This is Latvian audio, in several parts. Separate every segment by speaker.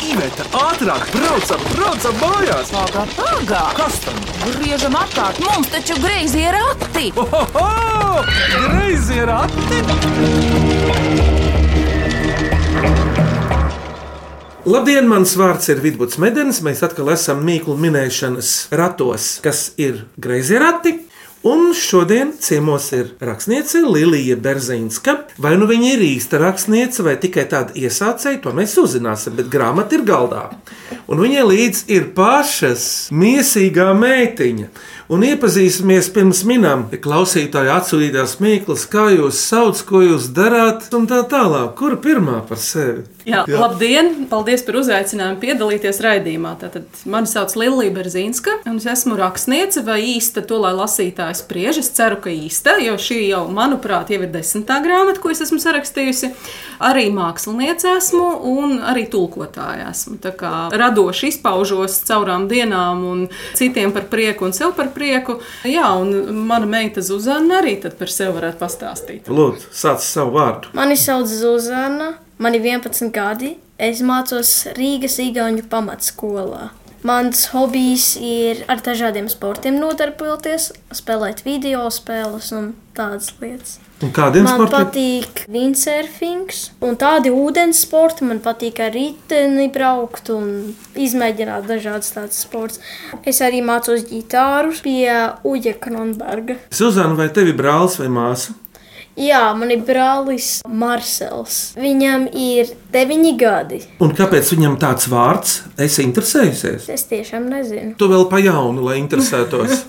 Speaker 1: Iveta, ātrāk, braucam, braucam mājās!
Speaker 2: Pagā, pagā!
Speaker 1: Kas tam?
Speaker 2: Griežam apkārt, mums taču greizi ir rati!
Speaker 1: Ohoho! Greizi ir ati!
Speaker 3: Labdien, mans vārds ir Vidvuds Medens. Mēs atkal esam mīklu minēšanas ratos, kas ir greizi rati. Un šodien ciemos ir rakstniece Lilija Berzīnska. Vai nu viņa ir īsta rakstniece vai tikai tāda iesācēja, to mēs uzzināsim, bet grāmata ir galdā. Un viņai līdzi ir pašas mīsīgā meitiņa. Un iepazīsimies pirms minām, ja klausītāji atsūtītās mīklas, kā jūs sauc, ko jūs darāt, un tā tālāk. Kur pirmā par sevi?
Speaker 4: Jā, Jā. Labdien! Paldies par uzaicinājumu piedalīties raidījumā. Tātad, mani sauc Lilija Berzīnska, un es esmu rakstniece vai īsta to, lai lasītājs spriež. Es ceru, ka īsta, jo šī jau, manuprāt, jau ir desmitā grāmata, ko es esmu sarakstījusi. Arī māksliniece esmu un arī tulkotāja esmu. Tā kā radoši izpaužos caurām dienām un citiem par prieku un sev par prieku. Jā, un mana meita Zuzana arī tad par sevi varētu pastāstīt.
Speaker 3: Lūdzu, sāc savu vārdu.
Speaker 5: Mani sauc Zuzana, man ir 11 gadi. Es mācos Rīgas Igaunijas pamatskolā. Mans hobijs ir ar dažādiem sportiem nodarboties, spēlēt video spēles un tādas lietas.
Speaker 3: Un kādiem
Speaker 5: Man
Speaker 3: sportiem?
Speaker 5: patīk windsurfings, un tādi ūdens sporti. Man patīk ar riteni braukt un izmēģināt dažādas tādas sports. Es arī mācos ģitāru pie Uģa Kronberga.
Speaker 3: Suzana, vai tev ir brālis vai māsa?
Speaker 5: Jā, man ir brālis Marsels. Viņam ir deviņi gadi.
Speaker 3: Un kāpēc viņam tāds vārds? Es interesējusies.
Speaker 5: Es tiešām nezinu.
Speaker 3: Tu vēl pa jaunu, lai interesētos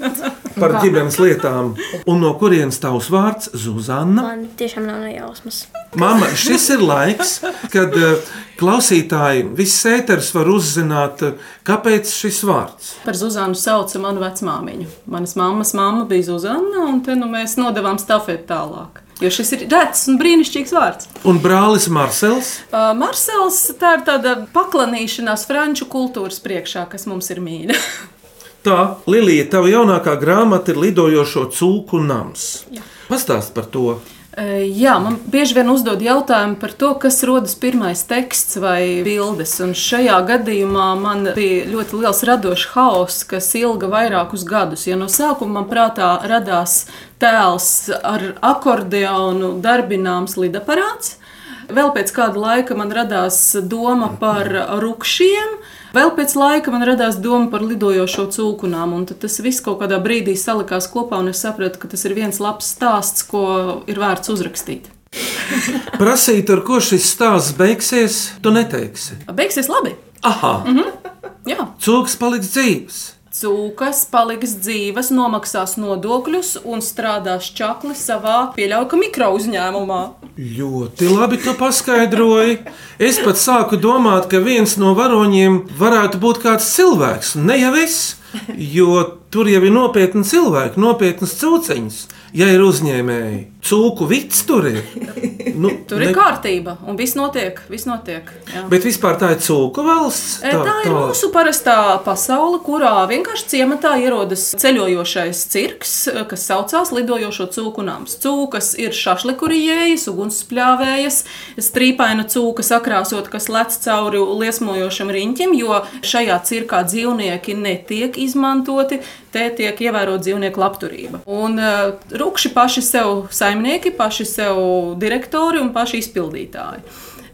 Speaker 3: par ģimenes lietām. Un no kurienes tavs vārds - Zuzana?
Speaker 5: Man tiešām nav ne jausmas.
Speaker 3: Mama, šis ir laiks, kad eh, klausītāji, viss ēteris var uzzināt, eh, kāpēc šis vārds.
Speaker 4: Par Zuzanu sauca manu vecmāmiņu. Manas mammas mamma bija Zuzana, un te nu mēs nodevām stafeti tālāk. Jo šis ir redzams un brīnišķīgs vārds.
Speaker 3: Un brālis Marsels,
Speaker 4: Uh, Marsels tā ir tāda paklanīšanās franču kultūras priekšā, kas mums ir mīļa.
Speaker 3: tā Lilija, tava jaunākā grāmata ir lidojošo cūku nams. Pastāst par to.
Speaker 4: Uh, Jā, man bieži vien uzdod jautājumu par to, kas rodas pirmais teksts vai bildes. Un šajā gadījumā man bija ļoti liels radošs haoss, kas ilga vairākus gadus. Ja no sākuma man prātā radās tēls ar akordeonu darbināms lidaparāts, vēl pēc kāda laika man radās doma par rupšiem. Vēl pēc laika man radās doma par lidojošo cūkunām, un tad tas viss kaut kādā brīdī salikās kopā, un es sapratu, ka tas ir viens labs stāsts, ko ir vērts uzrakstīt.
Speaker 3: Prasīt, ar ko šis stāsts beigsies, tu neteiksi.
Speaker 4: Beigsies labi!
Speaker 3: Aha!
Speaker 4: Mhm. Jā.
Speaker 3: Cūks paliks dzīves.
Speaker 4: Cūkas paliks dzīves, nomaksās nodokļus un strādās čakli savā pieļauka mikro uzņēmumā.
Speaker 3: Ļoti labi, ka paskaidroji. Es pat sāku domāt, ka viens no varoņiem varētu būt kāds cilvēks, ne jau es, jo tur jau ir nopietni cilvēki, nopietnas cūciņas, ja ir uzņēmēji. Cūku vits tur ir. Nu,
Speaker 4: Tur ir kārtība, un viss notiek. Viss notiek jā.
Speaker 3: Bet vispār tā ir cūku valsts.
Speaker 4: E, Tā, tā ir mūsu parastā pasaule, kurā vienkārši ciematā ierodas ceļojošais cirks, kas saucās Lidojošo cūku nams. Cūkas ir šašlikurījējas, ugunsspļāvējas, strīpaina cūka sakrāsot, kas lec cauri liesmojošam riņķim, jo šajā cirkā dzīvnieki netiek izmantoti, te tiek ievērota dzīvnieku labturība. Un uh, rupši paši sev saimnieki, paši sev direktori un paši izpildītāji.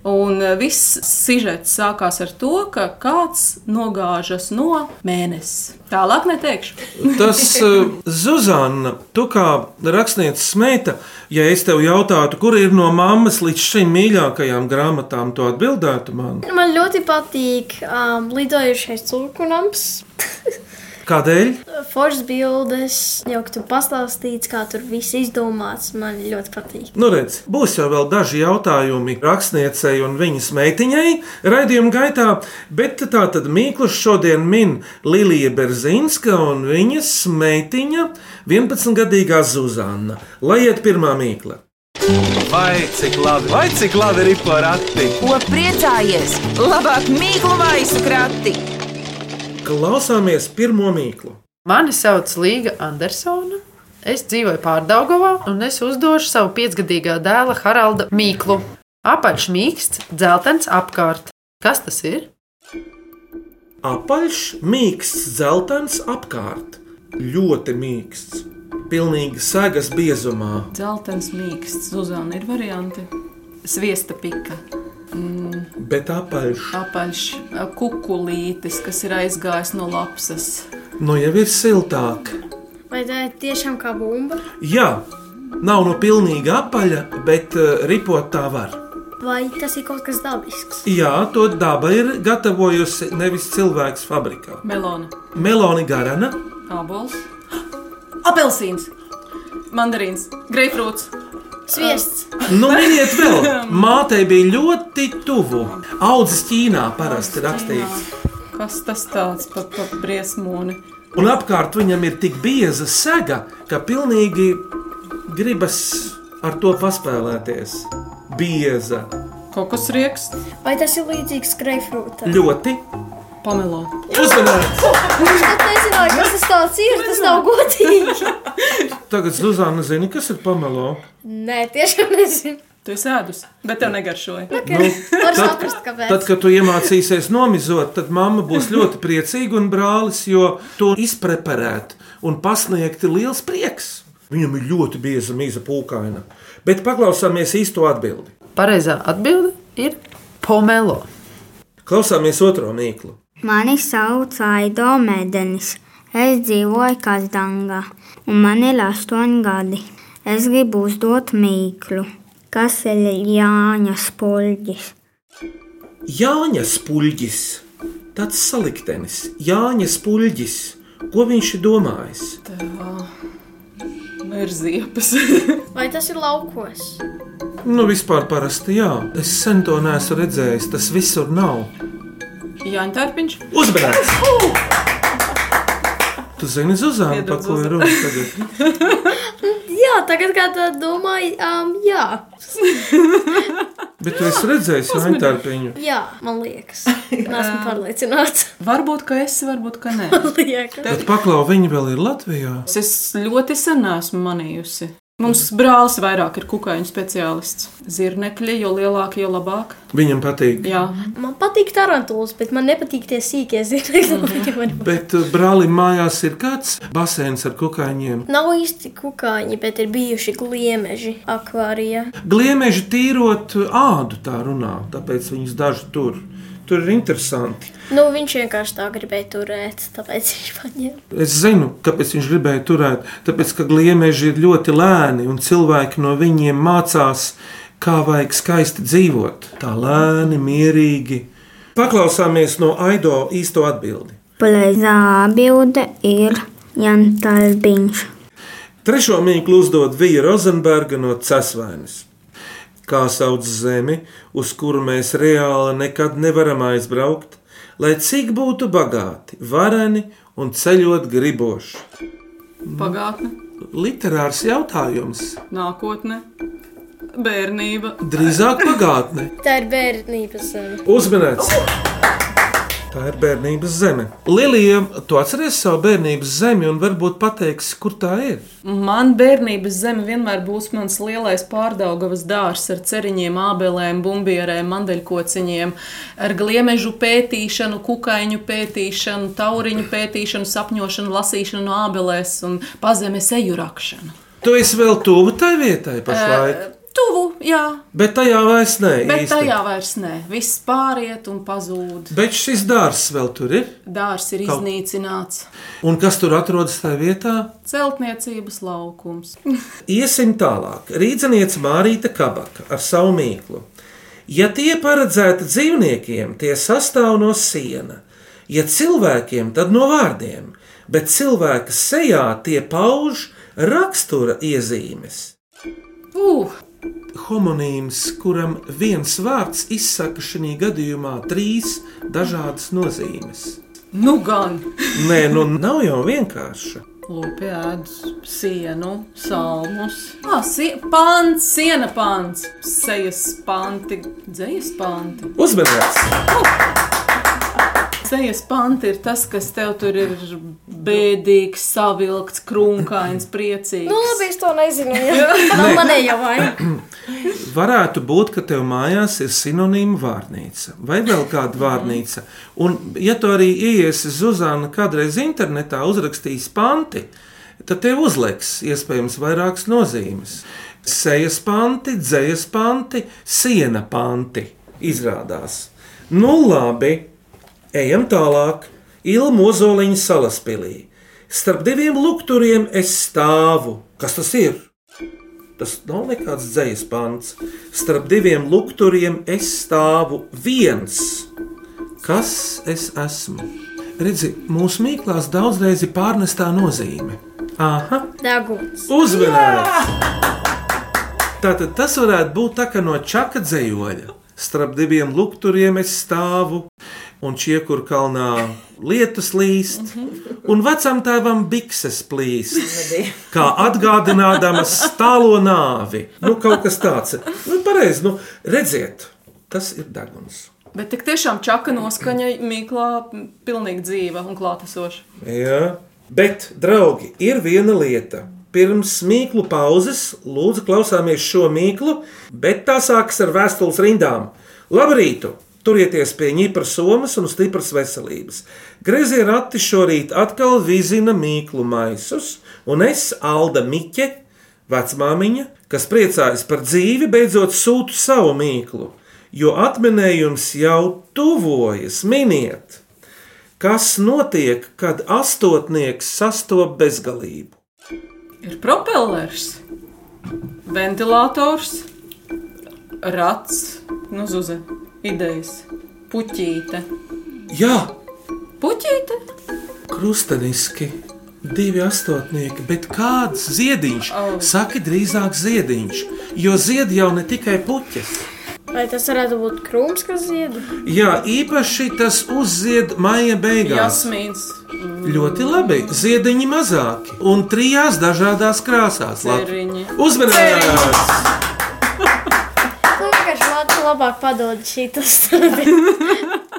Speaker 4: Un eh, viss sižets sākās ar to, ka kāds nogāžas no mēnesis. Tālāk neteikšu.
Speaker 3: Tas, eh, Zuzana, tu kā rakstniece meita, ja es tev jautātu, kur ir no mammas līdz šim mīļākajām grāmatām, tu atbildētu man.
Speaker 5: Man ļoti patīk um, lidojušais cūkunams.
Speaker 3: Kādēļ?
Speaker 5: Foršs bildes, jau tur pastāstīts, kā tur viss izdomāts. Man ļoti patīk.
Speaker 3: Nu, redz, būs jau vēl daži jautājumi rakstniecei un viņas meitiņai raidījuma gaitā, bet tā tad Mīkls šodien min Lilija Berzīnska un viņas meitiņa 11-gadīgā Zuzana. Lai iet pirmā mīkla!
Speaker 1: Vai cik labi, vai cik labi ir pa rati!
Speaker 2: Ko priecājies? Labāk mīklu maisu krati!
Speaker 3: Klausāmies pirmo mīklu!
Speaker 6: Mani sauc Līga Andersona. Es dzīvoju Pārdagovā un es uzdošu savu piecgadīgā dēla Haralda mīklu. Apaļš mīksts, dzeltens apkārt. Kas tas ir?
Speaker 3: Apaļš, mīksts, dzeltens apkārt. Ļoti mīksts. Pilnīgi sagas biezumā.
Speaker 4: Zeltens, mīksts, Zuzana ir varianti. Sviesta pika,
Speaker 3: Bet apaļš
Speaker 4: apaļš, eh, kukulītis, kas ir aizgājis no lapas.
Speaker 3: nu jau ir siltāk.
Speaker 5: Vai tā ir tiešām kā bumba?
Speaker 3: Jā, nav no pilnīgi apaļa, bet eh, ripot tā var.
Speaker 5: Vai tas ir kaut kas dabisks?
Speaker 3: Jā, to daba ir gatavojusi nevis cilvēks fabrikā.
Speaker 4: Melona,
Speaker 3: Meloni garana,
Speaker 4: abols, apelsīns, mandarīns, greifrūts.
Speaker 5: Sviests.
Speaker 3: nu miniet vēl, mātei bija ļoti tuvu. Audzis Ķīnā parasti rakstīts.
Speaker 4: Kas tas tāds par pa briesmoni?
Speaker 3: Un apkārt viņam ir tik bieza sega, ka pilnīgi gribas ar to paspēlēties. Bieza,
Speaker 4: Kokos rieks,
Speaker 5: Vai tas ir līdzīgs greifrūtam?
Speaker 3: ļoti
Speaker 4: pamelo.
Speaker 3: uzmanīgs.
Speaker 5: Es pat nezināju, kas tas tāds ir. Tas nav godīgi.
Speaker 3: Tagad Zuzana zina, kas ir pamelo.
Speaker 5: Nē, tiešām nezinu.
Speaker 4: Tu esi ēdus, bet tev negaršoja.
Speaker 3: Nu,
Speaker 5: Var saprast, kāpēc.
Speaker 3: tad, kad tu iemācīsies nomizot, tad mamma būs ļoti priecīga un brālis, jo to izpreparēt un pasniegt ir liels prieks. Viņam ir ļoti bieza mīza pūkaina. Bet paklausāmies īsto atbildi.
Speaker 6: Pareizā atbilde ir pomelo.
Speaker 3: Klausāmies otro mīklu.
Speaker 7: Mani sauc Aido Mēdenis. Es dzīvoju Kazdangā, un man ir astoņi gadi. Es gribu uzdot mīklu, kas ir Jāņa spoļģis.
Speaker 3: Jāņa spuļģis, tāds saliktenis, Jāņa spuļģis, ko viņš ir domājis?
Speaker 4: Vai Nu, ir ziepes?
Speaker 5: Vai tas ir laukos?
Speaker 3: Nu, vispār parasti jā, es sen to neesmu redzējis, tas visur nav.
Speaker 4: Jāņa tērpiņš,
Speaker 3: Uzmanīgs! Tu zini, Zuzana,
Speaker 4: Iedod
Speaker 3: par ko ir runa tagad?
Speaker 5: Jā, tagad kā tā domāju, um, jā.
Speaker 3: Bet tu esi redzējis Antārpiņu.
Speaker 5: jā, man liekas. Nesmu pārliecināts.
Speaker 4: varbūt ka es, varbūt ka nē.
Speaker 5: Man liekas.
Speaker 3: Bet paklau, viņi vēl ir Latvijā.
Speaker 4: Es ļoti sen esmu manījusi. Mums brālis vairāk ir kukaiņu speciālists. Zirnekļi, jo lielāki, jo labāk.
Speaker 3: Viņam patīk.
Speaker 4: Jā,
Speaker 5: Man patīk tarantulas, bet man nepatīk tie sīkie zirgļi.
Speaker 3: Bet uh, brālim mājās ir kāds basēns ar kukaiņiem.
Speaker 5: Nav īsti kukaiņi, bet ir bijuši gliemeži akvārijā.
Speaker 3: Gliemeži tīrot ādu tā runā, tāpēc viņus daži tur. Tur ir interesanti.
Speaker 5: Nu, viņš vienkārši tā gribēja turēt, tāpēc viņš paņēma.
Speaker 3: Es zinu, kāpēc viņš gribēja turēt. Tāpēc, ka gliemeži ir ļoti lēni un cilvēki no viņiem mācās, kā vajag skaisti dzīvot. Tā lēni, mierīgi. Paklausāmies no Aido īsto atbildi.
Speaker 7: Pareizā atbilde ir Jantalbiņš.
Speaker 3: Trešo mīklu uzdod Vija Rozenberga no Cēsvainas. Kā sauc zemi, uz kuru mēs reāli nekad nevaram aizbraukt, lai cik būtu bagāti, vareni un ceļot griboši?
Speaker 4: pagātne,
Speaker 3: Literārs jautājums.
Speaker 4: nākotne, bērnība.
Speaker 3: Drīzāk pagātne.
Speaker 5: Tā ir bērnības zeme.
Speaker 3: Uzmanīts! Tā ir bērnības zeme. Lielija, tu atceries savu bērnības zemi un varbūt pateiksi, kur tā ir.
Speaker 4: Man bērnības zeme vienmēr būs mans lielais pārdaugavas dārzs ar ceriņiem, ābelēm, bumbierēm, mandeļkociņiem, ar gliemežu pētīšanu, kukaiņu pētīšanu, tauriņu pētīšanu, sapņošanu, lasīšanu no ābelēs un pazemes eju rakšanu.
Speaker 3: Tu esi vēl tuvu tai vietai pašlaik,
Speaker 4: Tuvu, jā,
Speaker 3: bet tajā vairs nē.
Speaker 4: bet
Speaker 3: īsti.
Speaker 4: tajā vairs nē. Viss pāriet un pazūd.
Speaker 3: Bet šis dārsts vēl tur ir.
Speaker 4: Dārs ir
Speaker 3: Kaut-
Speaker 4: iznīcināts.
Speaker 3: Un kas tur atrodas tajā vietā?
Speaker 4: Celtniecības laukums.
Speaker 3: Iesim tālāk. Rīdziniece Mārīta Kabaka ar savu mīklu. Ja tie paredzēti dzīvniekiem, tie sastāv no siena, ja cilvēkiem, tad no vārdiem, bet cilvēka sejā tie pauž rakstura iezīmes.
Speaker 4: Uh,
Speaker 3: Homonīms, kuram viens vārds izsaka šajā gadījumā trīs dažādas nozīmes.
Speaker 4: nu gan!
Speaker 3: Nē, nu nav jau vienkārša.
Speaker 4: Lūpi ēdus, sienu, salmus. Ah, sie pants, siena pants, sejas panti, dzējas panti.
Speaker 3: Uzmanības!
Speaker 4: Sejas panti ir tas, kas tev tur ir bēdīgs, savilkts, krunkains, priecīgs.
Speaker 5: Nu, labi, es to nezinu. Jā, tā man ir jau vaina.
Speaker 3: Varētu būt, ka tev mājās ir sinonīma vārnīca vai vēl kāda vārnīca. Un, ja tu arī iesi Zuzana kādreiz internetā, uzrakstīs panti, tad tev uzliks iespējams vairākas nozīmes. Sejas panti, dzējas panti, siena panti izrādās. Nu, labi, ejam tālāk. Ilmu ozoliņa salaspēlī. Starp diviem lukturiem es stāvu. Kas tas ir? Tas nav nekāds dzīslis pants. Starp diviem lukturiem es stāvu viens. Kas es esmu? Redzi, mūsu mīklās daudzreiz ir pārnestā nozīme. Aha,
Speaker 5: Deguns.
Speaker 3: uzmanīgs! Tātad tas varētu būt tā kā no čaka dzējoļa. Starp diviem lukturiem es stāvu, un čiekur kalnā lietus līst, un vecam tēvam bikses plīst, kā atgādinādamas stālo nāvi. Nu, kaut kas tāds. Nu, pareizi, nu, redziet, tas ir deguns.
Speaker 4: Bet tik tiešām čaka noskaņa Mīklā m, pilnīgi dzīva un klātesoša.
Speaker 3: Jā. Bet, draugi, ir viena lieta. Pirms mīklu pauzes, lūdzu, klausāmies šo mīklu, bet tā sākas ar vēstules rindām. Labrīt! Turieties pie ņipras somas un stipras veselības. Grezie rati šorīt atkal vizina mīklu maisus, un es, Alda Miķe, vecmāmiņa, kas priecājas par dzīvi, beidzot sūtu savu mīklu, jo atminējums jau tuvojas, miniet! Kas notiek, kad astotnieks sastopas bezgalību?
Speaker 4: Ir propellers, ventilators, rats, nu zuze, idejas, puķīte.
Speaker 3: Jā,
Speaker 4: Puķīte?
Speaker 3: krustaniski. Divi astotnieki, bet kāds ziediņš?
Speaker 4: Au.
Speaker 3: Saki, drīzāk ziediņš, jo zied jau ne tikai puķis.
Speaker 5: Vai tas varētu būt krūms, kas zied?
Speaker 3: Jā, īpaši tas uzzied maija beigās.
Speaker 4: Jasmīns,
Speaker 3: Ļoti labi. Ziediņi mazāki un trijās dažādās krāsās.
Speaker 4: Ceriņi.
Speaker 3: Uzmanības!
Speaker 5: Nu, vienkārši lāču labāk padod šitas.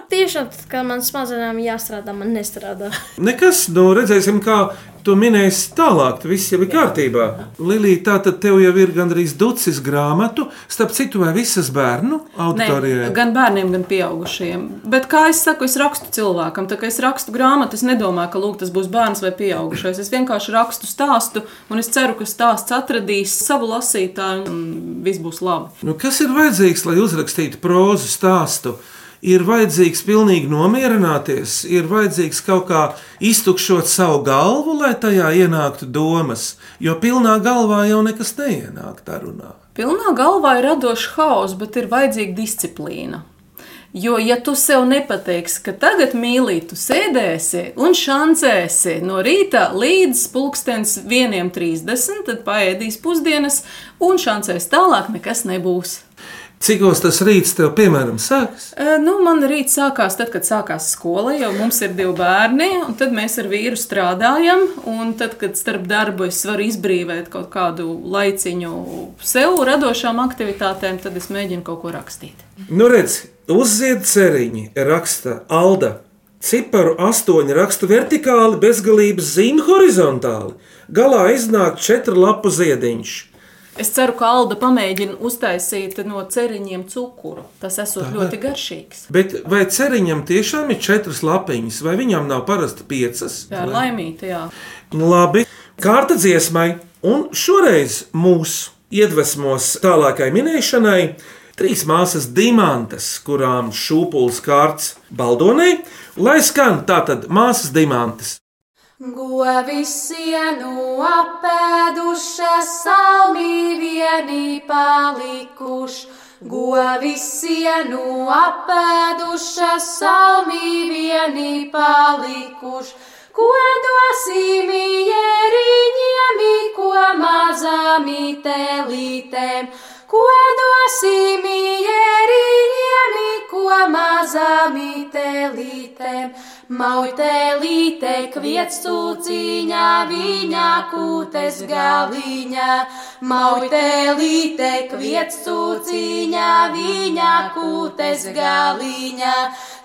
Speaker 5: Tiešām, tad, kad man smadzenēm jāstrādā, man nestrādā.
Speaker 3: Nekas, nu redzēsim, kā tu minēsi tālāk. Tu viss jau ir kārtībā. Lilija, tā tad tev jau ir gandrīz ducis grāmatu, starp citu, vai visas bērnu auditorijai.
Speaker 4: Ne, gan bērniem, gan pieaugušiem. Bet, kā jau teicu, es rakstu cilvēkam. Tā kā es rakstu grāmatu, es nedomāju, ka lūk, tas būs bērns vai pieaugušais. Es vienkārši rakstu stāstu, un es ceru, ka stāsts atradīs savu lasītāju, un viss būs labi.
Speaker 3: Nu, kas ir vajadzīgs, lai uzrakstītu prózu stāstu? Ir vajadzīgs pilnīgi nomierināties, ir vajadzīgs kaut kā iztukšot savu galvu, lai tajā ienāktu domas, jo pilnā galvā jau nekas neienāk tā runā.
Speaker 4: Pilnā galvā ir radošs haoss, bet ir vajadzīga disciplīna. Jo, ja tu sev nepateiksi, ka tagad mīlīt, tu sēdēsi un šancēsi no rīta līdz pulkstenis 1.30, tad paēdīs pusdienas un šancēs tālāk nekas nebūs.
Speaker 3: Cikos tas rīts tev, piemēram, sākas?
Speaker 4: E, Nu, man rīts sākās tad, kad sākās skola, jo mums ir divi bērni, un tad mēs ar vīru strādājam. Un tad, kad starp darbu es varu izbrīvot kaut kādu laiciņu sev radošām aktivitātēm, tad es mēģinu kaut ko rakstīt.
Speaker 3: Nu, redz, uzzied ceriņi, raksta Alda. Ciparu astoņi rakstu vertikāli, bezgalības zīme horizontāli. Galā iznāk četru lapu ziediņš.
Speaker 4: Es ceru, ka Alda pamēģina uztaisīt no ceriņiem cukuru. Tas esot ļoti garšīgs.
Speaker 3: Bet vai ceriņam tiešām ir četras lapiņas, vai viņam nav parasti piecas? Nu,
Speaker 4: Jā, ir laimīga, jā.
Speaker 3: Labi, kārta dziesmai, un šoreiz mūs iedvesmos tālākai minēšanai trīs māsas diamantes, kurām šūpulis kārts baldonē, lai skan tātad māsas diamantes.
Speaker 8: Govis sienu apēdušas, salmī vienī palikuš. Govis sienu apēdušas, salmī vienī palikuš. Ko dosim ieriņiem, i ko mazām itelītēm? Ko dosim ieriņiem, i ko mazām itelītēm? mautēlītēm, mautēlītē kviec cūciņā, viņa kūtes galīņā, mautēlītē kviec cūciņā, viņa kūtes galīņā.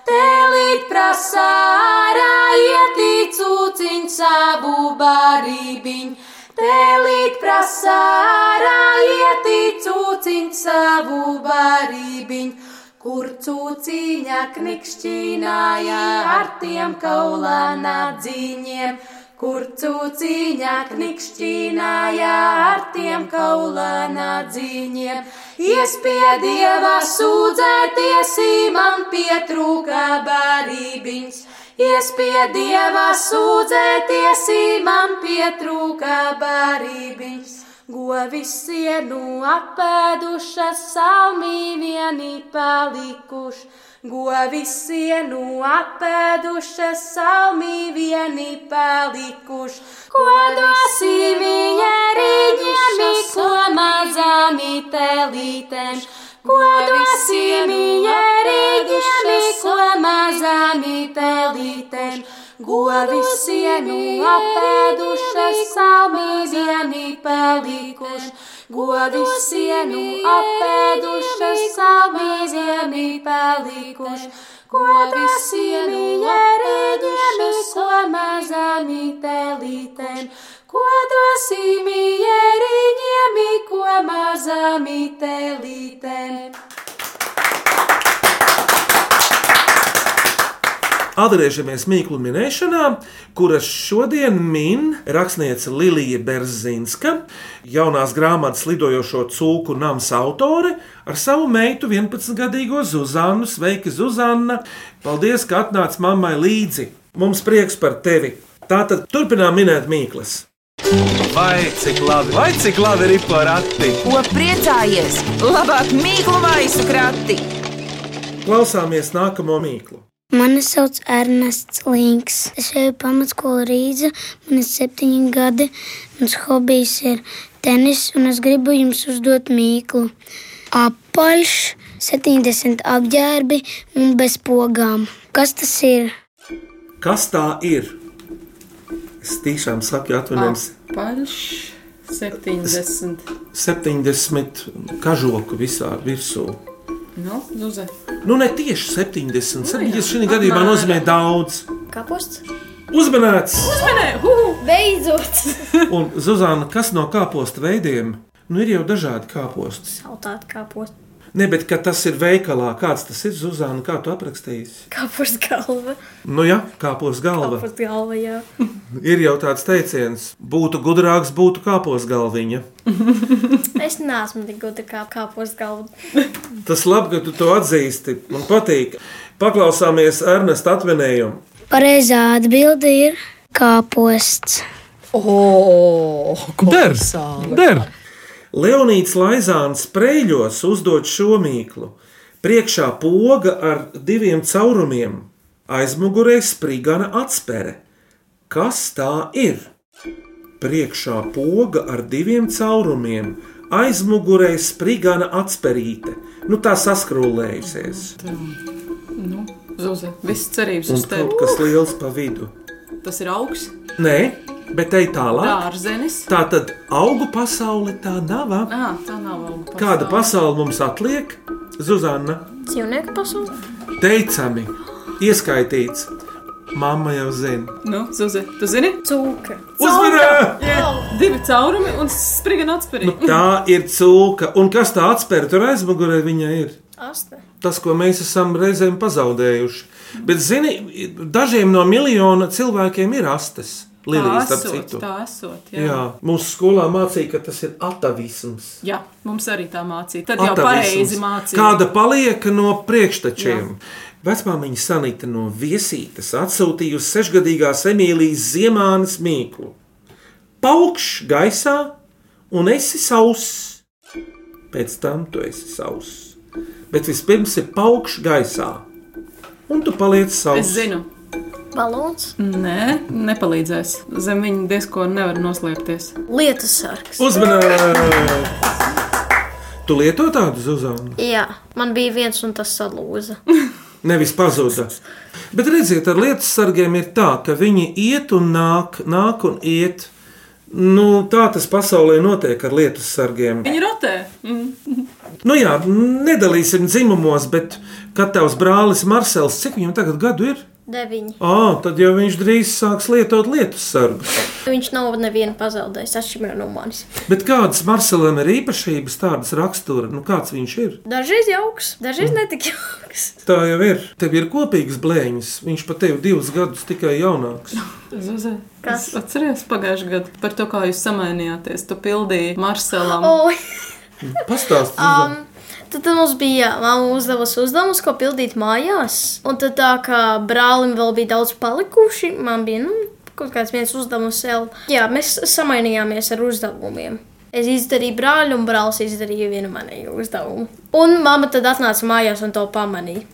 Speaker 8: Tēlīt prasā ārā ietīt cūciņ savu barībiņu. Tēlīt prasā ārā ietīt cūciņ savu barībiņu. Kur cūciņa knikšķināja ar tiem kaulānā dziņiem, kur cūciņa knikšķināja ar tiem kaulānā dziņiem. Iespiedieva sūdzēties, man pietrūka barībiņš. Iespiedieva sūdzēties, man pietrūka barībiņš. Govisienu apēdušas salmī vieni palikuši, govisienu apēdušas salmī vieni palikuši. Ko dosim viņeriņiem, ko mazami telītēm? Ko dosim viņeriņiem, ko mazami telītēm? Govisienu apēdušas samīzieni pelikuši, Govisienu apēdušas samīzieni pelikuši, Govisienu jērēdušas komazami telītēm, Ko dosīmi jērīņiem, ko mazami telītēm.
Speaker 3: Atgriežamies mīklu minēšanā, kuras šodien min rakstniece Lilija Berzinska, jaunās grāmatas lidojošo cūku nams autore, ar savu meitu 11-gadīgo Zuzannu. Sveiki, Zuzanna! Paldies, ka atnāci mammai līdzi! Mums prieks par tevi! Tātad turpinām minēt mīklas.
Speaker 1: Vai cik labi, vai cik labi ir porati?
Speaker 2: Ko priecājies? Labāk mīklu maisu krati!
Speaker 3: Klausāmies nākamo mīklu.
Speaker 7: Mani sauc Ernests Links. Es eju pamatskolā Rīgā. Man ir septiņi gadi. Mans hobijs ir tenis, un es gribu jums uzdot mīklu. Apaļš, 70 apģērbi un bez pogām. Kas tas ir?
Speaker 3: Kas tā ir? Es tiešām saku, atvainojos,
Speaker 4: Paļš 70.
Speaker 3: 70 kažoku visā virsū.
Speaker 4: Nu, Zuze.
Speaker 3: Nu, ne tieši 70, 70 šī gadījumā nozīmē daudz.
Speaker 5: Kapusts?
Speaker 3: Uzmanīts!
Speaker 4: Uzmanē, huhu!
Speaker 5: Beidzot!
Speaker 3: Un, Zuzana, kas no kāpostu veidiem? Nu, ir jau dažādi kāpostas.
Speaker 5: Saltāti kapusts.
Speaker 3: Ne, bet kad tas ir veikalā, kāds tas ir, Zuzana, kā tu aprakstīsi?
Speaker 5: Kapusts galva.
Speaker 3: Nu, jā, kāpos galva.
Speaker 5: Kapusts galva, jā.
Speaker 3: Ir jau tāds teiciens, būtu gudrāks, būtu kāpos galviņa.
Speaker 5: Es neesmu tik gudra kā kapusts galva.
Speaker 3: Tas labi, ka tu to atzīsti. Man patīk. Paklausāmies Ernesta atvinējumu.
Speaker 7: Pareizā atbilde ir kāposts.
Speaker 1: Ders! Der!
Speaker 3: Leonīds Laizāns Prēļos uzdod šo mīklu. Priekšā poga ar diviem caurumiem, aizmugurē sprigana atspere. Kas tā ir? Priekšā poga ar diviem caurumiem, aizmugurē sprigana atspērīte. Nu, tā saskrūlējusies.
Speaker 4: Nu, Zuze, viss cerības
Speaker 3: Un
Speaker 4: uz
Speaker 3: kaut
Speaker 4: tevi.
Speaker 3: kas liels pa vidu.
Speaker 4: Tas ir augs,
Speaker 3: Nē, bet ej tālāk.
Speaker 4: dārzenis.
Speaker 3: Tā tad augu pasaule tā nav. ā?
Speaker 4: Ā, tā nav auga.
Speaker 3: Kāda pasaule mums atliek? Zuzanna.
Speaker 5: Dzīvnieku pasaule?
Speaker 3: teicami, ieskaitīts. Māma jau zina.
Speaker 4: Nu, Zuze, tu zini?
Speaker 5: Cūka.
Speaker 3: Uzvarē!
Speaker 4: Divi caurumi un spriga atspērī. Nu.
Speaker 3: Tā ir cūka. Un kas tā atspēra tur aizmugurē viņa ir?
Speaker 5: Asta.
Speaker 3: Tas, ko mēs esam reizēm pazaudējuši. Bet, zini, dažiem no miljona cilvēkiem ir astes.
Speaker 4: Tā
Speaker 3: Lilijas, starp
Speaker 4: esot,
Speaker 3: citu.
Speaker 4: tā esot. Jā.
Speaker 3: Jā, mūsu skolā mācīja, ka tas ir atavisms.
Speaker 4: jā, mums arī tā mācīja. Tad jau pareizi mācīja.
Speaker 3: Kāda paliek no priekštečiem? Vecmāmiņa Sanita no viesītes atsūtījusi sešgadīgās Emīlijas ziemānes mīklu. Paukšs gaisā un esi sauss. Pēc tam tu esi sauss. Bet vispirms ir paukšs gaisā. Un tu paliec
Speaker 4: Es
Speaker 3: sauss.
Speaker 4: zinu,
Speaker 5: Balons.
Speaker 4: nē, nepalīdzēs. Zem viņa diezko nevar noslēpties.
Speaker 5: Lietus sargs.
Speaker 3: Uzmanīgi! Tu lieto tādu zuzānu?
Speaker 5: Jā, man bija viens un tas salūza.
Speaker 3: nevis pazuda. Bet redziet, ar lietu sargiem ir tā, ka viņi iet un nāk, nāk un iet. Nu, tā tas pasaulē notiek ar lietu sargiem.
Speaker 4: Viņi rotē. Mm.
Speaker 3: Nu, jā, nedalīsim dzimumos, bet katrs brālis Marsels, cik viņam tagad gadu ir?
Speaker 5: Deviņi.
Speaker 3: Ah, tad jau viņš drīz sāks lietot lietu sargu.
Speaker 5: Viņš nav nevienu pazaudējis atšķirībā no manis.
Speaker 3: Bet kādas Marselam ir īpašības, tādas rakstura, nu kāds viņš ir?
Speaker 5: Dažreiz jauks, dažreiz netik jauks.
Speaker 3: Tā jau ir. Tev ir kopīgs blēņas. Viņš pat tevi divus gadus tikai jaunāks.
Speaker 4: Zuze,
Speaker 5: Kas?
Speaker 4: es Atceries pagājušajā gadā par to, kā jūs samainījāties. Tu pildīji Marselam.
Speaker 5: O,
Speaker 3: Pastāstiet,
Speaker 5: um,
Speaker 3: um,
Speaker 5: tad, tad mums bija mamma uzdevusi uzdevumus, ko pildīt mājās. Un tad tā kā brālim vēl bija daudz palikuši, man bija nu, kaut kāds viens uzdevums vēl. Jā, mēs samainījāmies ar uzdevumiem. Es izdarīju brāli, un brālis izdarīja vienu manēju uzdevumu. Un mamma tad atnāca mājās un to pamanīja,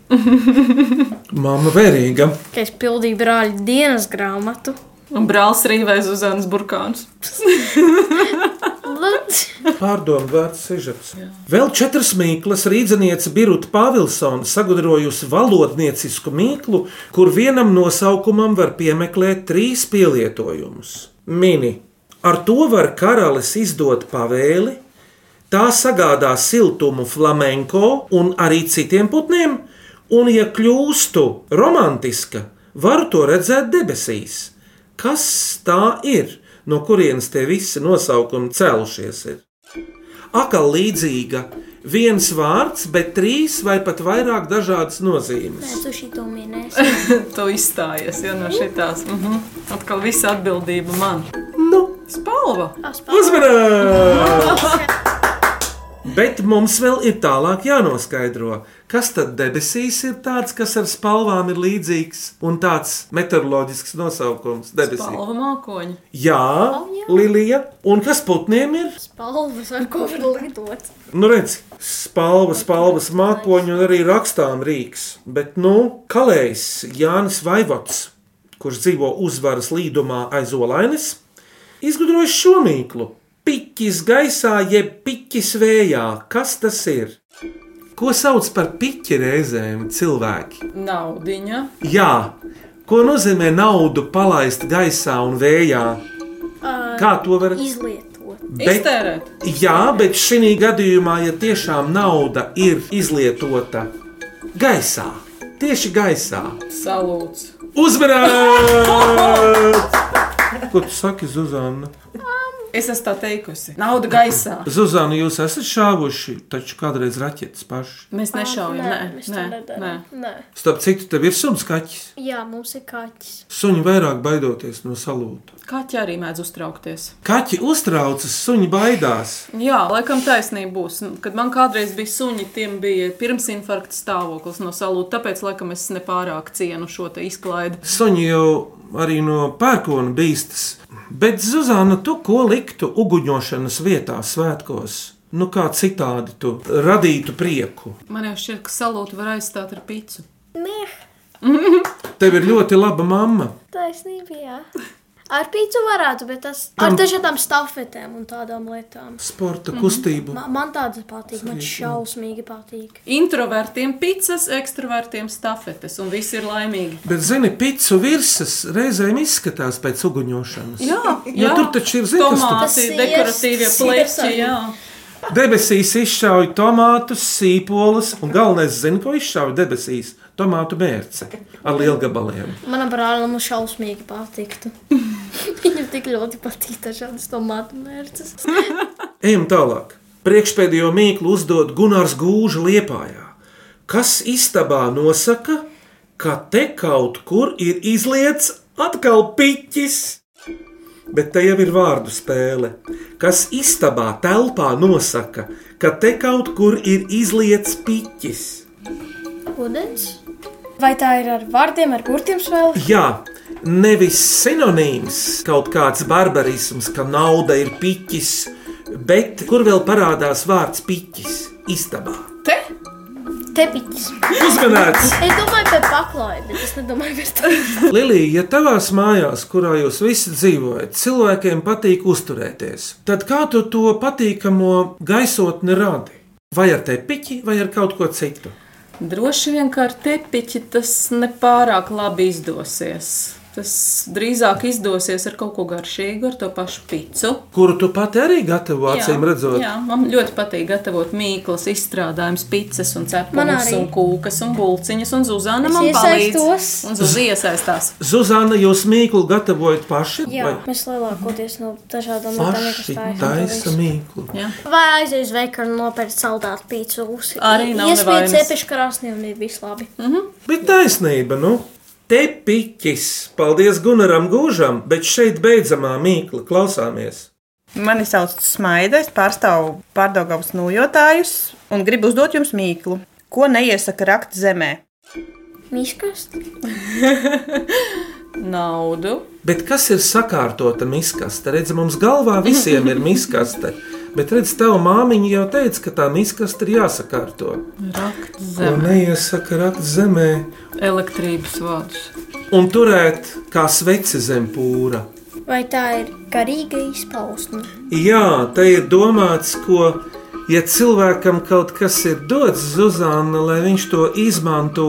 Speaker 3: Māma vērīga.
Speaker 5: ka es pildīju brāļa dienas grāmatu.
Speaker 4: Un brālis rīvēja Zuzanas burkānus.
Speaker 5: Lūdzu!
Speaker 3: Pārdomu vērts sižets. Vēl četras mīklas rīzniece Birta Pāvilsona sagudrojusi valodniecisku mīklu, kur vienam nosaukumam var piemeklēt trīs pielietojumus. Mini. Ar to var karalis izdot pavēli, tā sagādā siltumu flamenko un arī citiem putniem, un, ja kļūstu romantiska, varu to redzēt debesīs. Kas tā ir? No kurienes tie visi nosaukumi cēlušies? Ir? Akal līdzīga viens vārds, bet trīs vai pat vairāk dažādas nozīmes.
Speaker 5: Tu šito minēsi.
Speaker 4: Tu izstājies ja, no šīs. Mm -hmm. Atkal visa atbildība man.
Speaker 3: Nu,
Speaker 4: Spalva!
Speaker 3: Uzmanības! Bet mums vēl ir tālāk jānoskaidro, kas tad debesīs ir tāds, kas ar spalvām ir līdzīgs un tāds meteoroloģisks nosaukums debesīm.
Speaker 4: Spalva mākoņi.
Speaker 3: Jā, Lilija, un kas putniem ir?
Speaker 5: Palvas, ar ko var lidot.
Speaker 3: Nu, redz, spalva, spalvas mākoņi un arī rakstām rīks. Bet, nu, kalējs Jānis Vaivots, kurš dzīvo uzvaras līdumā aiz olainas, izgudroja šo mīklu. Piķis gaisā, jeb piķis vējā. Kas tas ir? Ko sauc par piķi reizēm cilvēki?
Speaker 4: Naudiņa.
Speaker 3: Jā, ko nozīmē naudu palaist gaisā un vējā? Kā to var
Speaker 5: Izlietot.
Speaker 3: Bet-
Speaker 4: Iztērēt.
Speaker 3: Jā, bet šī gadījumā, ja tiešām nauda ir izlietota gaisā, tieši gaisā,
Speaker 4: Salūts.
Speaker 3: uzvarēt! Ko tu saki, Zuzana?
Speaker 4: Es esmu tā teikusi. Nauda gaisā.
Speaker 3: Zuzana, jūs esat šāvuši, taču kādreiz raķetes paši.
Speaker 4: Mēs nešaujam. Nē,
Speaker 5: mēs to
Speaker 4: nē, nē.
Speaker 5: nedarām. Nē.
Speaker 3: Starp citu, tev ir suns kaķis.
Speaker 5: Jā, mums ir kaķis.
Speaker 3: Suņi vairāk baidoties no salūta.
Speaker 4: Kaķi arī mēdz uztraukties.
Speaker 3: Kaķi uztraucas, suņi baidās.
Speaker 4: Jā, laikam taisnība būs. Nu, Kad man kādreiz bija suņi, tiem bija pirmsinfarkta stāvoklis no salūta. Tāpēc, laikam, es nepārāk cienu šo te izklaidi.
Speaker 3: Suņi jau arī no pērkona bīstas. Bet, Zuzana, tu ko liktu uguņošanas vietā svētkos? Nu, kā citādi tu radītu prieku?
Speaker 4: Man jau šķiet, ka salūtu var aizstāt ar pīci.
Speaker 5: Nē,
Speaker 3: Tev ir ļoti laba mamma.
Speaker 5: taisnība, jā. Ar pīci varētu, bet tas ar
Speaker 3: Tam-
Speaker 5: dažādām stafetēm un tādām lietām.
Speaker 3: Sporta kustību.
Speaker 5: Man, man tādas patīk, man šausmīgi patīk.
Speaker 4: Introvertiem pīcis, ekstravertiem stafetes, un visi ir laimīgi.
Speaker 3: Bet, zini, pīcis virsmas reizēm izskatās pēc uguņošanas.
Speaker 4: Jā,
Speaker 3: Jo
Speaker 4: jā.
Speaker 3: Nu, tur taču ir, zini, kas tur-
Speaker 5: Tas
Speaker 4: tomāti,
Speaker 5: siests,
Speaker 4: dekoratīvie pleķi.
Speaker 5: sirsniņi.
Speaker 4: Jā,
Speaker 3: Debesīs izšauja tomātus, sīpolus, un galvenais, zini, ko izšauja debesīs - tomātu mērce ar lielgabaliem.
Speaker 5: Manam brālim šausmīgi patiktu. Viņam tik ļoti patīk dažādas tomātu mērces.
Speaker 3: Ejam tālāk. Priekšpēdējo mīklu uzdod Gunārs Gūža liepājā. Kas istabā nosaka, ka te kaut kur ir izlietas atkal piķis? Bet te jau ir vārdu spēle. Kas istabā telpā nosaka, ka te kaut kur ir izlietas piķis?
Speaker 5: Vodens? Vai tā ir ar vārdiem, ar burtiem spēle?
Speaker 3: Jā, nevis sinonīms kaut kāds barbarisms, ka nauda ir piķis, bet kur vēl parādās vārds piķis? Istabā.
Speaker 4: te
Speaker 5: Tepiķis.
Speaker 3: Uzmanīts!
Speaker 5: Es domāju par paklāju, bet es nedomāju par to.
Speaker 3: Lilija, ja tavās mājās, kurā jūs visi dzīvojat, cilvēkiem patīk uzturēties, tad kā tu to patīkamo gaisotni radi? Vai ar tepiķi, vai ar kaut ko citu?
Speaker 4: Droši vien kā ar tepiķi tas nepārāk labi izdosies. Tas drīzāk izdosies ar kaut ko garšīgu, ar to pašu picu.
Speaker 3: kuru tu pati arī gatavo, acīm redzot.
Speaker 4: jā, man ļoti patīk gatavot mīklas, izstrādājums, pitas, un
Speaker 5: Man
Speaker 4: cepumus,
Speaker 5: arī.
Speaker 4: un kūkas, un bulciņas, un Zuzana
Speaker 5: Es
Speaker 4: man palīdz.
Speaker 5: iesaistos.
Speaker 4: Un Zuzi iesaistās.
Speaker 3: Zuzana, jūs mīklu gatavojat paši?
Speaker 5: Jā, mēs lielākoties no dažādām lietām
Speaker 3: paši taisa
Speaker 5: iekšā.
Speaker 3: mīklu.
Speaker 5: Vai aizies uz veikalu un nopērts saldātu pīci uz
Speaker 4: Arī nav nevainas.
Speaker 5: Iespējams, cepešu krāsnī un ir viss labi.
Speaker 3: Bet taisnība, nu, te piķis. Paldies Gunaram Gūžam, bet šeit beidzamā mīkla klausāmies.
Speaker 9: Mani sauc Smaida, es pārstāvu pārdagāvus nojotājus un gribu uzdot jums mīklu. Ko neiesaka rakt zemē?
Speaker 5: Miskast?
Speaker 4: Naudu.
Speaker 3: Bet kas ir sakārtota miskaste? Redz, mums galvā visiem ir miskaste. Bet redz, tev māmiņa jau teica, ka tā miskaste ir jāsakārto.
Speaker 4: Rakt
Speaker 3: Ko
Speaker 4: zem.
Speaker 3: neiesaka rakt zemē
Speaker 4: Elektrības vārds.
Speaker 3: un turēt kā sveci zem pūra.
Speaker 5: Vai tā ir garīga izpausme?
Speaker 3: Jā, te ir domāts, ko, ja cilvēkam kaut kas ir dots Zuzana, lai viņš to izmanto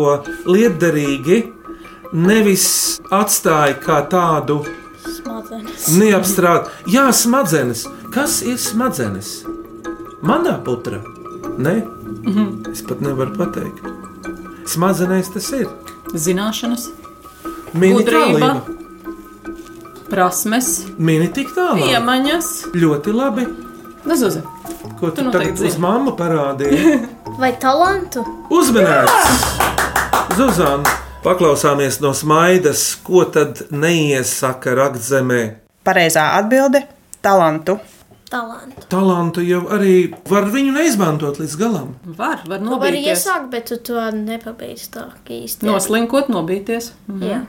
Speaker 3: lietderīgi, nevis atstāja kā tādu
Speaker 5: Smadzenes.
Speaker 3: neapstrādātu. Jā, smadzenes. Kas ir smadzenes? Manā putra? Nē,
Speaker 4: Mhm.
Speaker 3: es pat nevaru pateikt. Smadzenēs tas ir.
Speaker 4: Zināšanas,
Speaker 3: Mini
Speaker 4: Gudrība.
Speaker 3: tālība.
Speaker 4: prasmes,
Speaker 3: Mini tik tālāk.
Speaker 4: iemaņas.
Speaker 3: Ļoti labi.
Speaker 4: Nu, Zuzi,
Speaker 3: Ko tu, tu
Speaker 4: noteikti
Speaker 3: tagad uz
Speaker 4: zini.
Speaker 3: mammu parādīji?
Speaker 5: Vai talantu?
Speaker 3: Uzmanīgs! Zuzana, paklausāmies no smaidas, ko tad neiesaka raktzemē.
Speaker 9: Pareizā atbilde - talantu.
Speaker 5: Talantu.
Speaker 3: Talantu jau arī var viņu neizmantot līdz galam.
Speaker 4: var, var
Speaker 5: Tu vari
Speaker 4: nobīties.
Speaker 5: iesākt, bet tu to nepabeidz tā īsti.
Speaker 4: Noslinkot, nobīties. Mhm,
Speaker 5: Jā.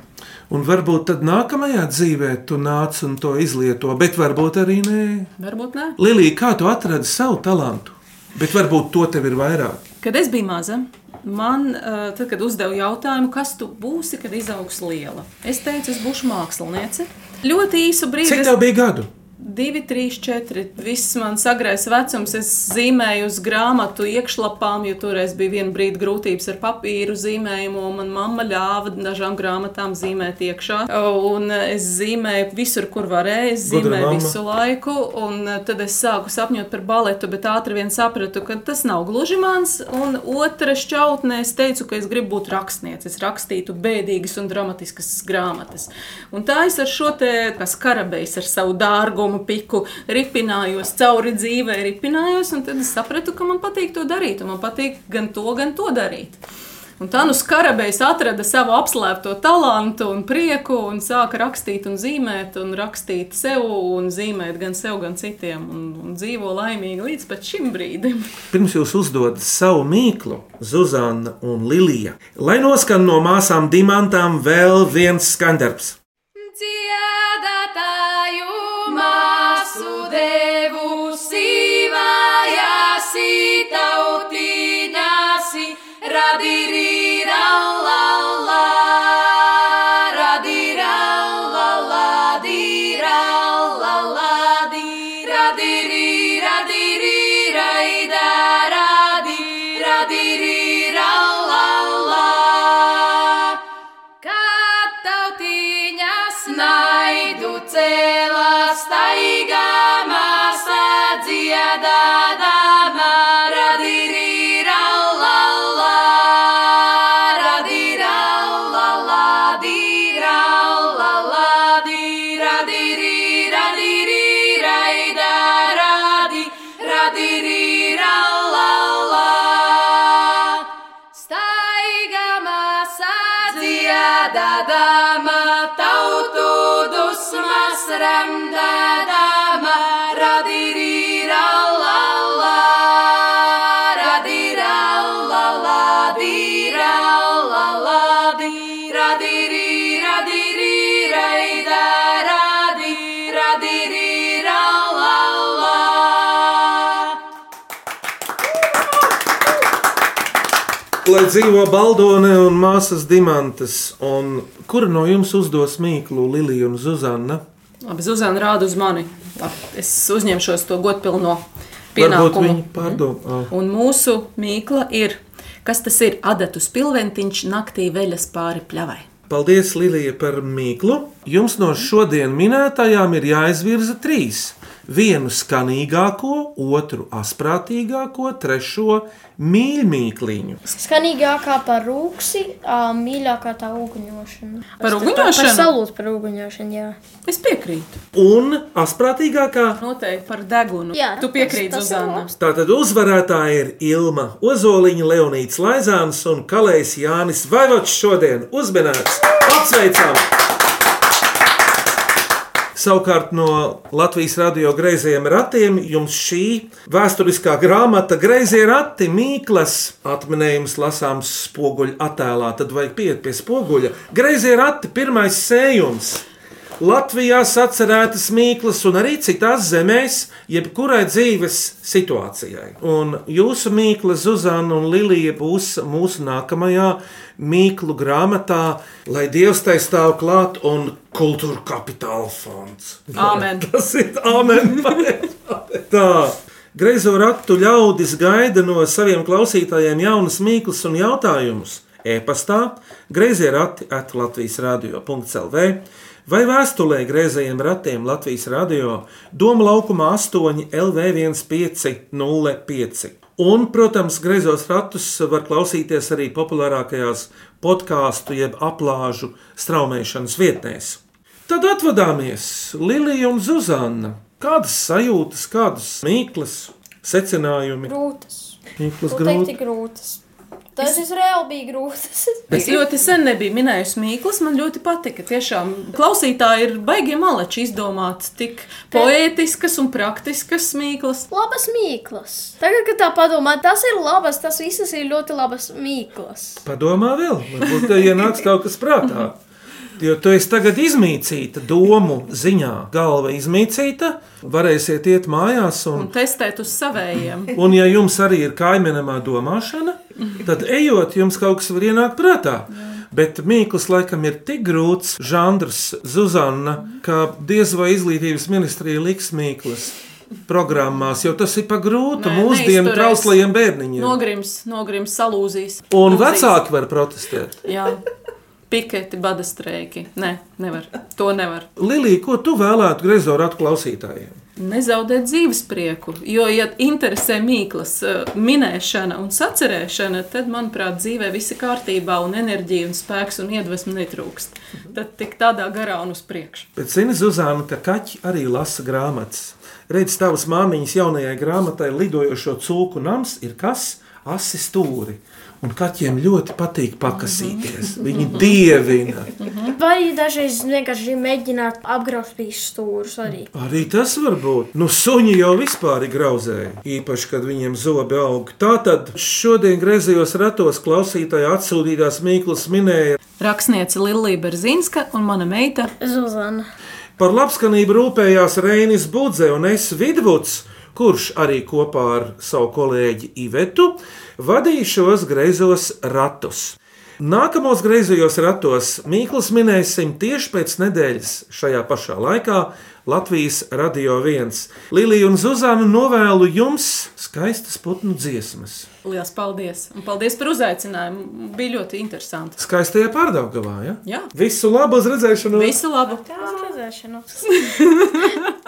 Speaker 3: Un varbūt tad nākamajā dzīvē tu nāc un to izlieto, bet varbūt arī nē.
Speaker 4: Varbūt nē.
Speaker 3: Lilija, kā tu atradi savu talantu? Bet varbūt to tev ir vairāk.
Speaker 4: Kad es biju maza, man, eh, tad, kad uzdevu jautājumu, kas tu būsi, kad izaugs liela, es teicu, es būšu māksliniece. Ļoti īsu brīdi,
Speaker 3: Cik
Speaker 4: es-
Speaker 3: tev bija gadu?
Speaker 4: divi, trīs, četri. Viss mans agrais vecums, es zīmēju uz grāmatu iekšlapām, jo toreiz bija viena brīdi grūtības ar papīru zīmējumu, un manā mamma ļāva dažām grāmatām zīmēt iekšā. Un eh, es zīmēju visur, kur varēju, es
Speaker 3: Gudra
Speaker 4: zīmēju
Speaker 3: mamma.
Speaker 4: visu laiku, un eh, tad es sāku sapņot par baletu, bet ātri vien sapratu, ka tas nav gluži mans, un otra šķautnē es teicu, ka es gribu būt rakstniece, es rakstītu bēdīgas un dramatiskas grāmatas. Un tā es ar šo te, kā skarabējs ar savu dārgumu piku ripinājos, cauri dzīvē ripinājos, un tad es sapratu, ka man patīk to darīt, un man patīk gan to, gan to darīt. Un tā nu skarabējs atrada savu apslēpto talantu un prieku un sāka rakstīt un zīmēt, un rakstīt sev un zīmēt gan sev, gan citiem, un, un dzīvo laimīgi līdz pat šim brīdim.
Speaker 3: Pirms jūs uzdodat savu mīklu, Zuzana un Lilija, lai noskan no māsām dimantām vēl viens skandarbs.
Speaker 8: Dziedātāju māsu devu sīvājāsi tautīņāsi radirīrallallā, radirallallā, dirallallā, radirīradirīraidā, radirīrallallā. Kad tautiņas naidu cēlā staigā māsā dziedādāmā radirīrallallā, radirallallā, dirallallā, diradirīradirīraidā, radi, radirīrallallā. Staigama sācija dadama, tautu dusmas ramdadama, radirīra la la, radirā la la, dirā la la, radirīra dirīra idā, radirīra dirīra la la.
Speaker 3: Lai dzīvo Baldone un māsas dimantas, un kura no jums uzdos mīklu, Lilija un Zuzana?
Speaker 4: Labi, Zuzana rāda uz mani. Labi, es uzņemšos to godpilno
Speaker 3: Varbūt Ah.
Speaker 4: pienākumu. Mhm.
Speaker 3: viņi pārdomā.
Speaker 4: Un mūsu mīkla ir, Kas tas ir? Adatus pilventiņš naktī veļas pāri pļavai.
Speaker 3: Paldies, Lilija, par mīklu. Jums no šodien minētajām ir jāizvirza trīs. Vienu skanīgāko, otru asprātīgāko, trešo mīļmīkliņu.
Speaker 5: Skanīgākā par rūksi, ā, mīļākā tā uguņošana.
Speaker 4: Par
Speaker 5: Par
Speaker 4: uguņošanu?
Speaker 5: salūtu par uguņošanu, jā.
Speaker 4: Es piekrītu.
Speaker 3: Un asprātīgākā
Speaker 4: Noteikti par degunu.
Speaker 5: Jā,
Speaker 4: tu piekrīti,
Speaker 5: tas- tas ir
Speaker 4: Zuzana.
Speaker 5: labs.
Speaker 3: Tātad uzvarētāji ir Ilma Ozoliņa, Leonīts Laizāns un Kalējs Jānis Vaivots šodien uzminēts. Apsveicam! Savukārt no Latvijas radio greizajiem ratiem jums šī vēsturiskā grāmata Greizie rati Mīklas atminējums lasāms spoguļa attēlā. Tad vajag pieiet pie spoguļa. Greizie rati pirmais sējums. Latvijā sacerētas mīklas un arī citās zemēs, jebkurai dzīves situācijai. Un jūsu mīkla, Zuzana un Lilija, būs mūsu nākamajā mīklu grāmatā, lai Dievs tai stāv klāt un kultūra kapitāla fonds.
Speaker 4: Āmen.
Speaker 3: Tas ir amen. Tā. Greizo raktu ļaudis gaida no saviem klausītājiem jaunas mīklas un jautājumus. E-pastā, grazījā rati at Latvijas radio.clv vai vēstulē grazējiem ratiem Latvijas radio Doma laukumā 8 LV1505. Un, protams, grazos ratus var klausīties arī populārākajās podkāstu jeb aplāžu straumēšanas vietnēs. Tad atvadāmies Lilija un Zuzana. Kādas sajūtas, kādas mīklas, secinājumi?
Speaker 5: Grūtas.
Speaker 3: Mīklas
Speaker 5: Noteikti
Speaker 3: grūti.
Speaker 5: grūtas. Tas es... reāli bija grūtas.
Speaker 4: Es ļoti sen nebiju minējusi mīklas, man ļoti patika. Tiešām klausītāji ir baigi maleči izdomāt tik poētiskas un praktiskas mīklas.
Speaker 5: Labas mīklas. Tagad, kad tā padomā, tas ir labas, tas visas ir ļoti labas mīklas.
Speaker 3: Padomā vēl, varbūt tev ienāks kaut kas prātā. Jo tu esi tagad izmīcīta, domu ziņā, galva izmīcīta, varēsiet iet mājās un
Speaker 4: Un testēt uz savējiem.
Speaker 3: Un, ja jums arī ir kaimiņamā domāšana, tad ejot, jums kaut kas var ienākt prātā. Bet Mīkls laikam ir tik grūts žanrs, Zuzana, ka diez vai izglītības ministrija liks Mīklas programmās, jo tas ir pa grūtu
Speaker 4: Nē,
Speaker 3: mūsdienu
Speaker 4: neizturēs.
Speaker 3: trauslajiem bērniņiem.
Speaker 4: Nogrims, nogrims, salūzīs.
Speaker 3: Un
Speaker 4: Lūdzīs.
Speaker 3: vecāki var protestēt.
Speaker 4: Jā. Piketi, badastrēki. Nē, nevar. To nevar.
Speaker 3: Lilija, ko tu vēlētu grezoru atklausītājiem?
Speaker 4: Nezaudēt dzīves prieku, jo, ja interesē mīklas eh, minēšana un sacerēšana, tad, manuprāt, dzīvē viss ir kārtībā un enerģija un spēks un iedvesma netrūkst. Tad tik tādā garā un uz priekšu.
Speaker 3: Bet zini, Zuzana, ka kaķi arī lasa grāmatas. Redz, tavas māmiņas jaunajai grāmatai lidojošo cūku nams ir kas? Asi stūri. Un kaķiem ļoti patīk pakasīties. Viņi dievina.
Speaker 5: Vai dažreiz vienkārši mēģināt apgrauzt bijis stūrus arī.
Speaker 3: Arī tas var būt. Nu, suņi jau vispār ir grauzēji, īpaši, kad viņiem zobi aug. Tātad šodien griezījos ratos klausītāja atsūtītās Mīklas minēja
Speaker 4: Rakstniece Lilija Berzinska un mana meita
Speaker 5: Zuzana.
Speaker 3: Par labskanību rūpējās Reinis Budze un es Vidvuds, kurš arī kopā ar savu kolēģi Ivetu vadīja šos greizos ratus. Nākamos greizajos ratos Mīkls minēsim tieši pēc nedēļas šajā pašā laikā Latvijas Radio 1. Lilija un Zuzana novēlu jums skaistas putnu dziesmas.
Speaker 4: Lielas paldies! Un paldies par uzaicinājumu. Bija ļoti interesanti.
Speaker 3: Skaistajā pārdaugavā, ja?
Speaker 4: Jā.
Speaker 3: Visu labu uz redzēšanos!
Speaker 4: Visu labu!
Speaker 5: Uz redzēšanos.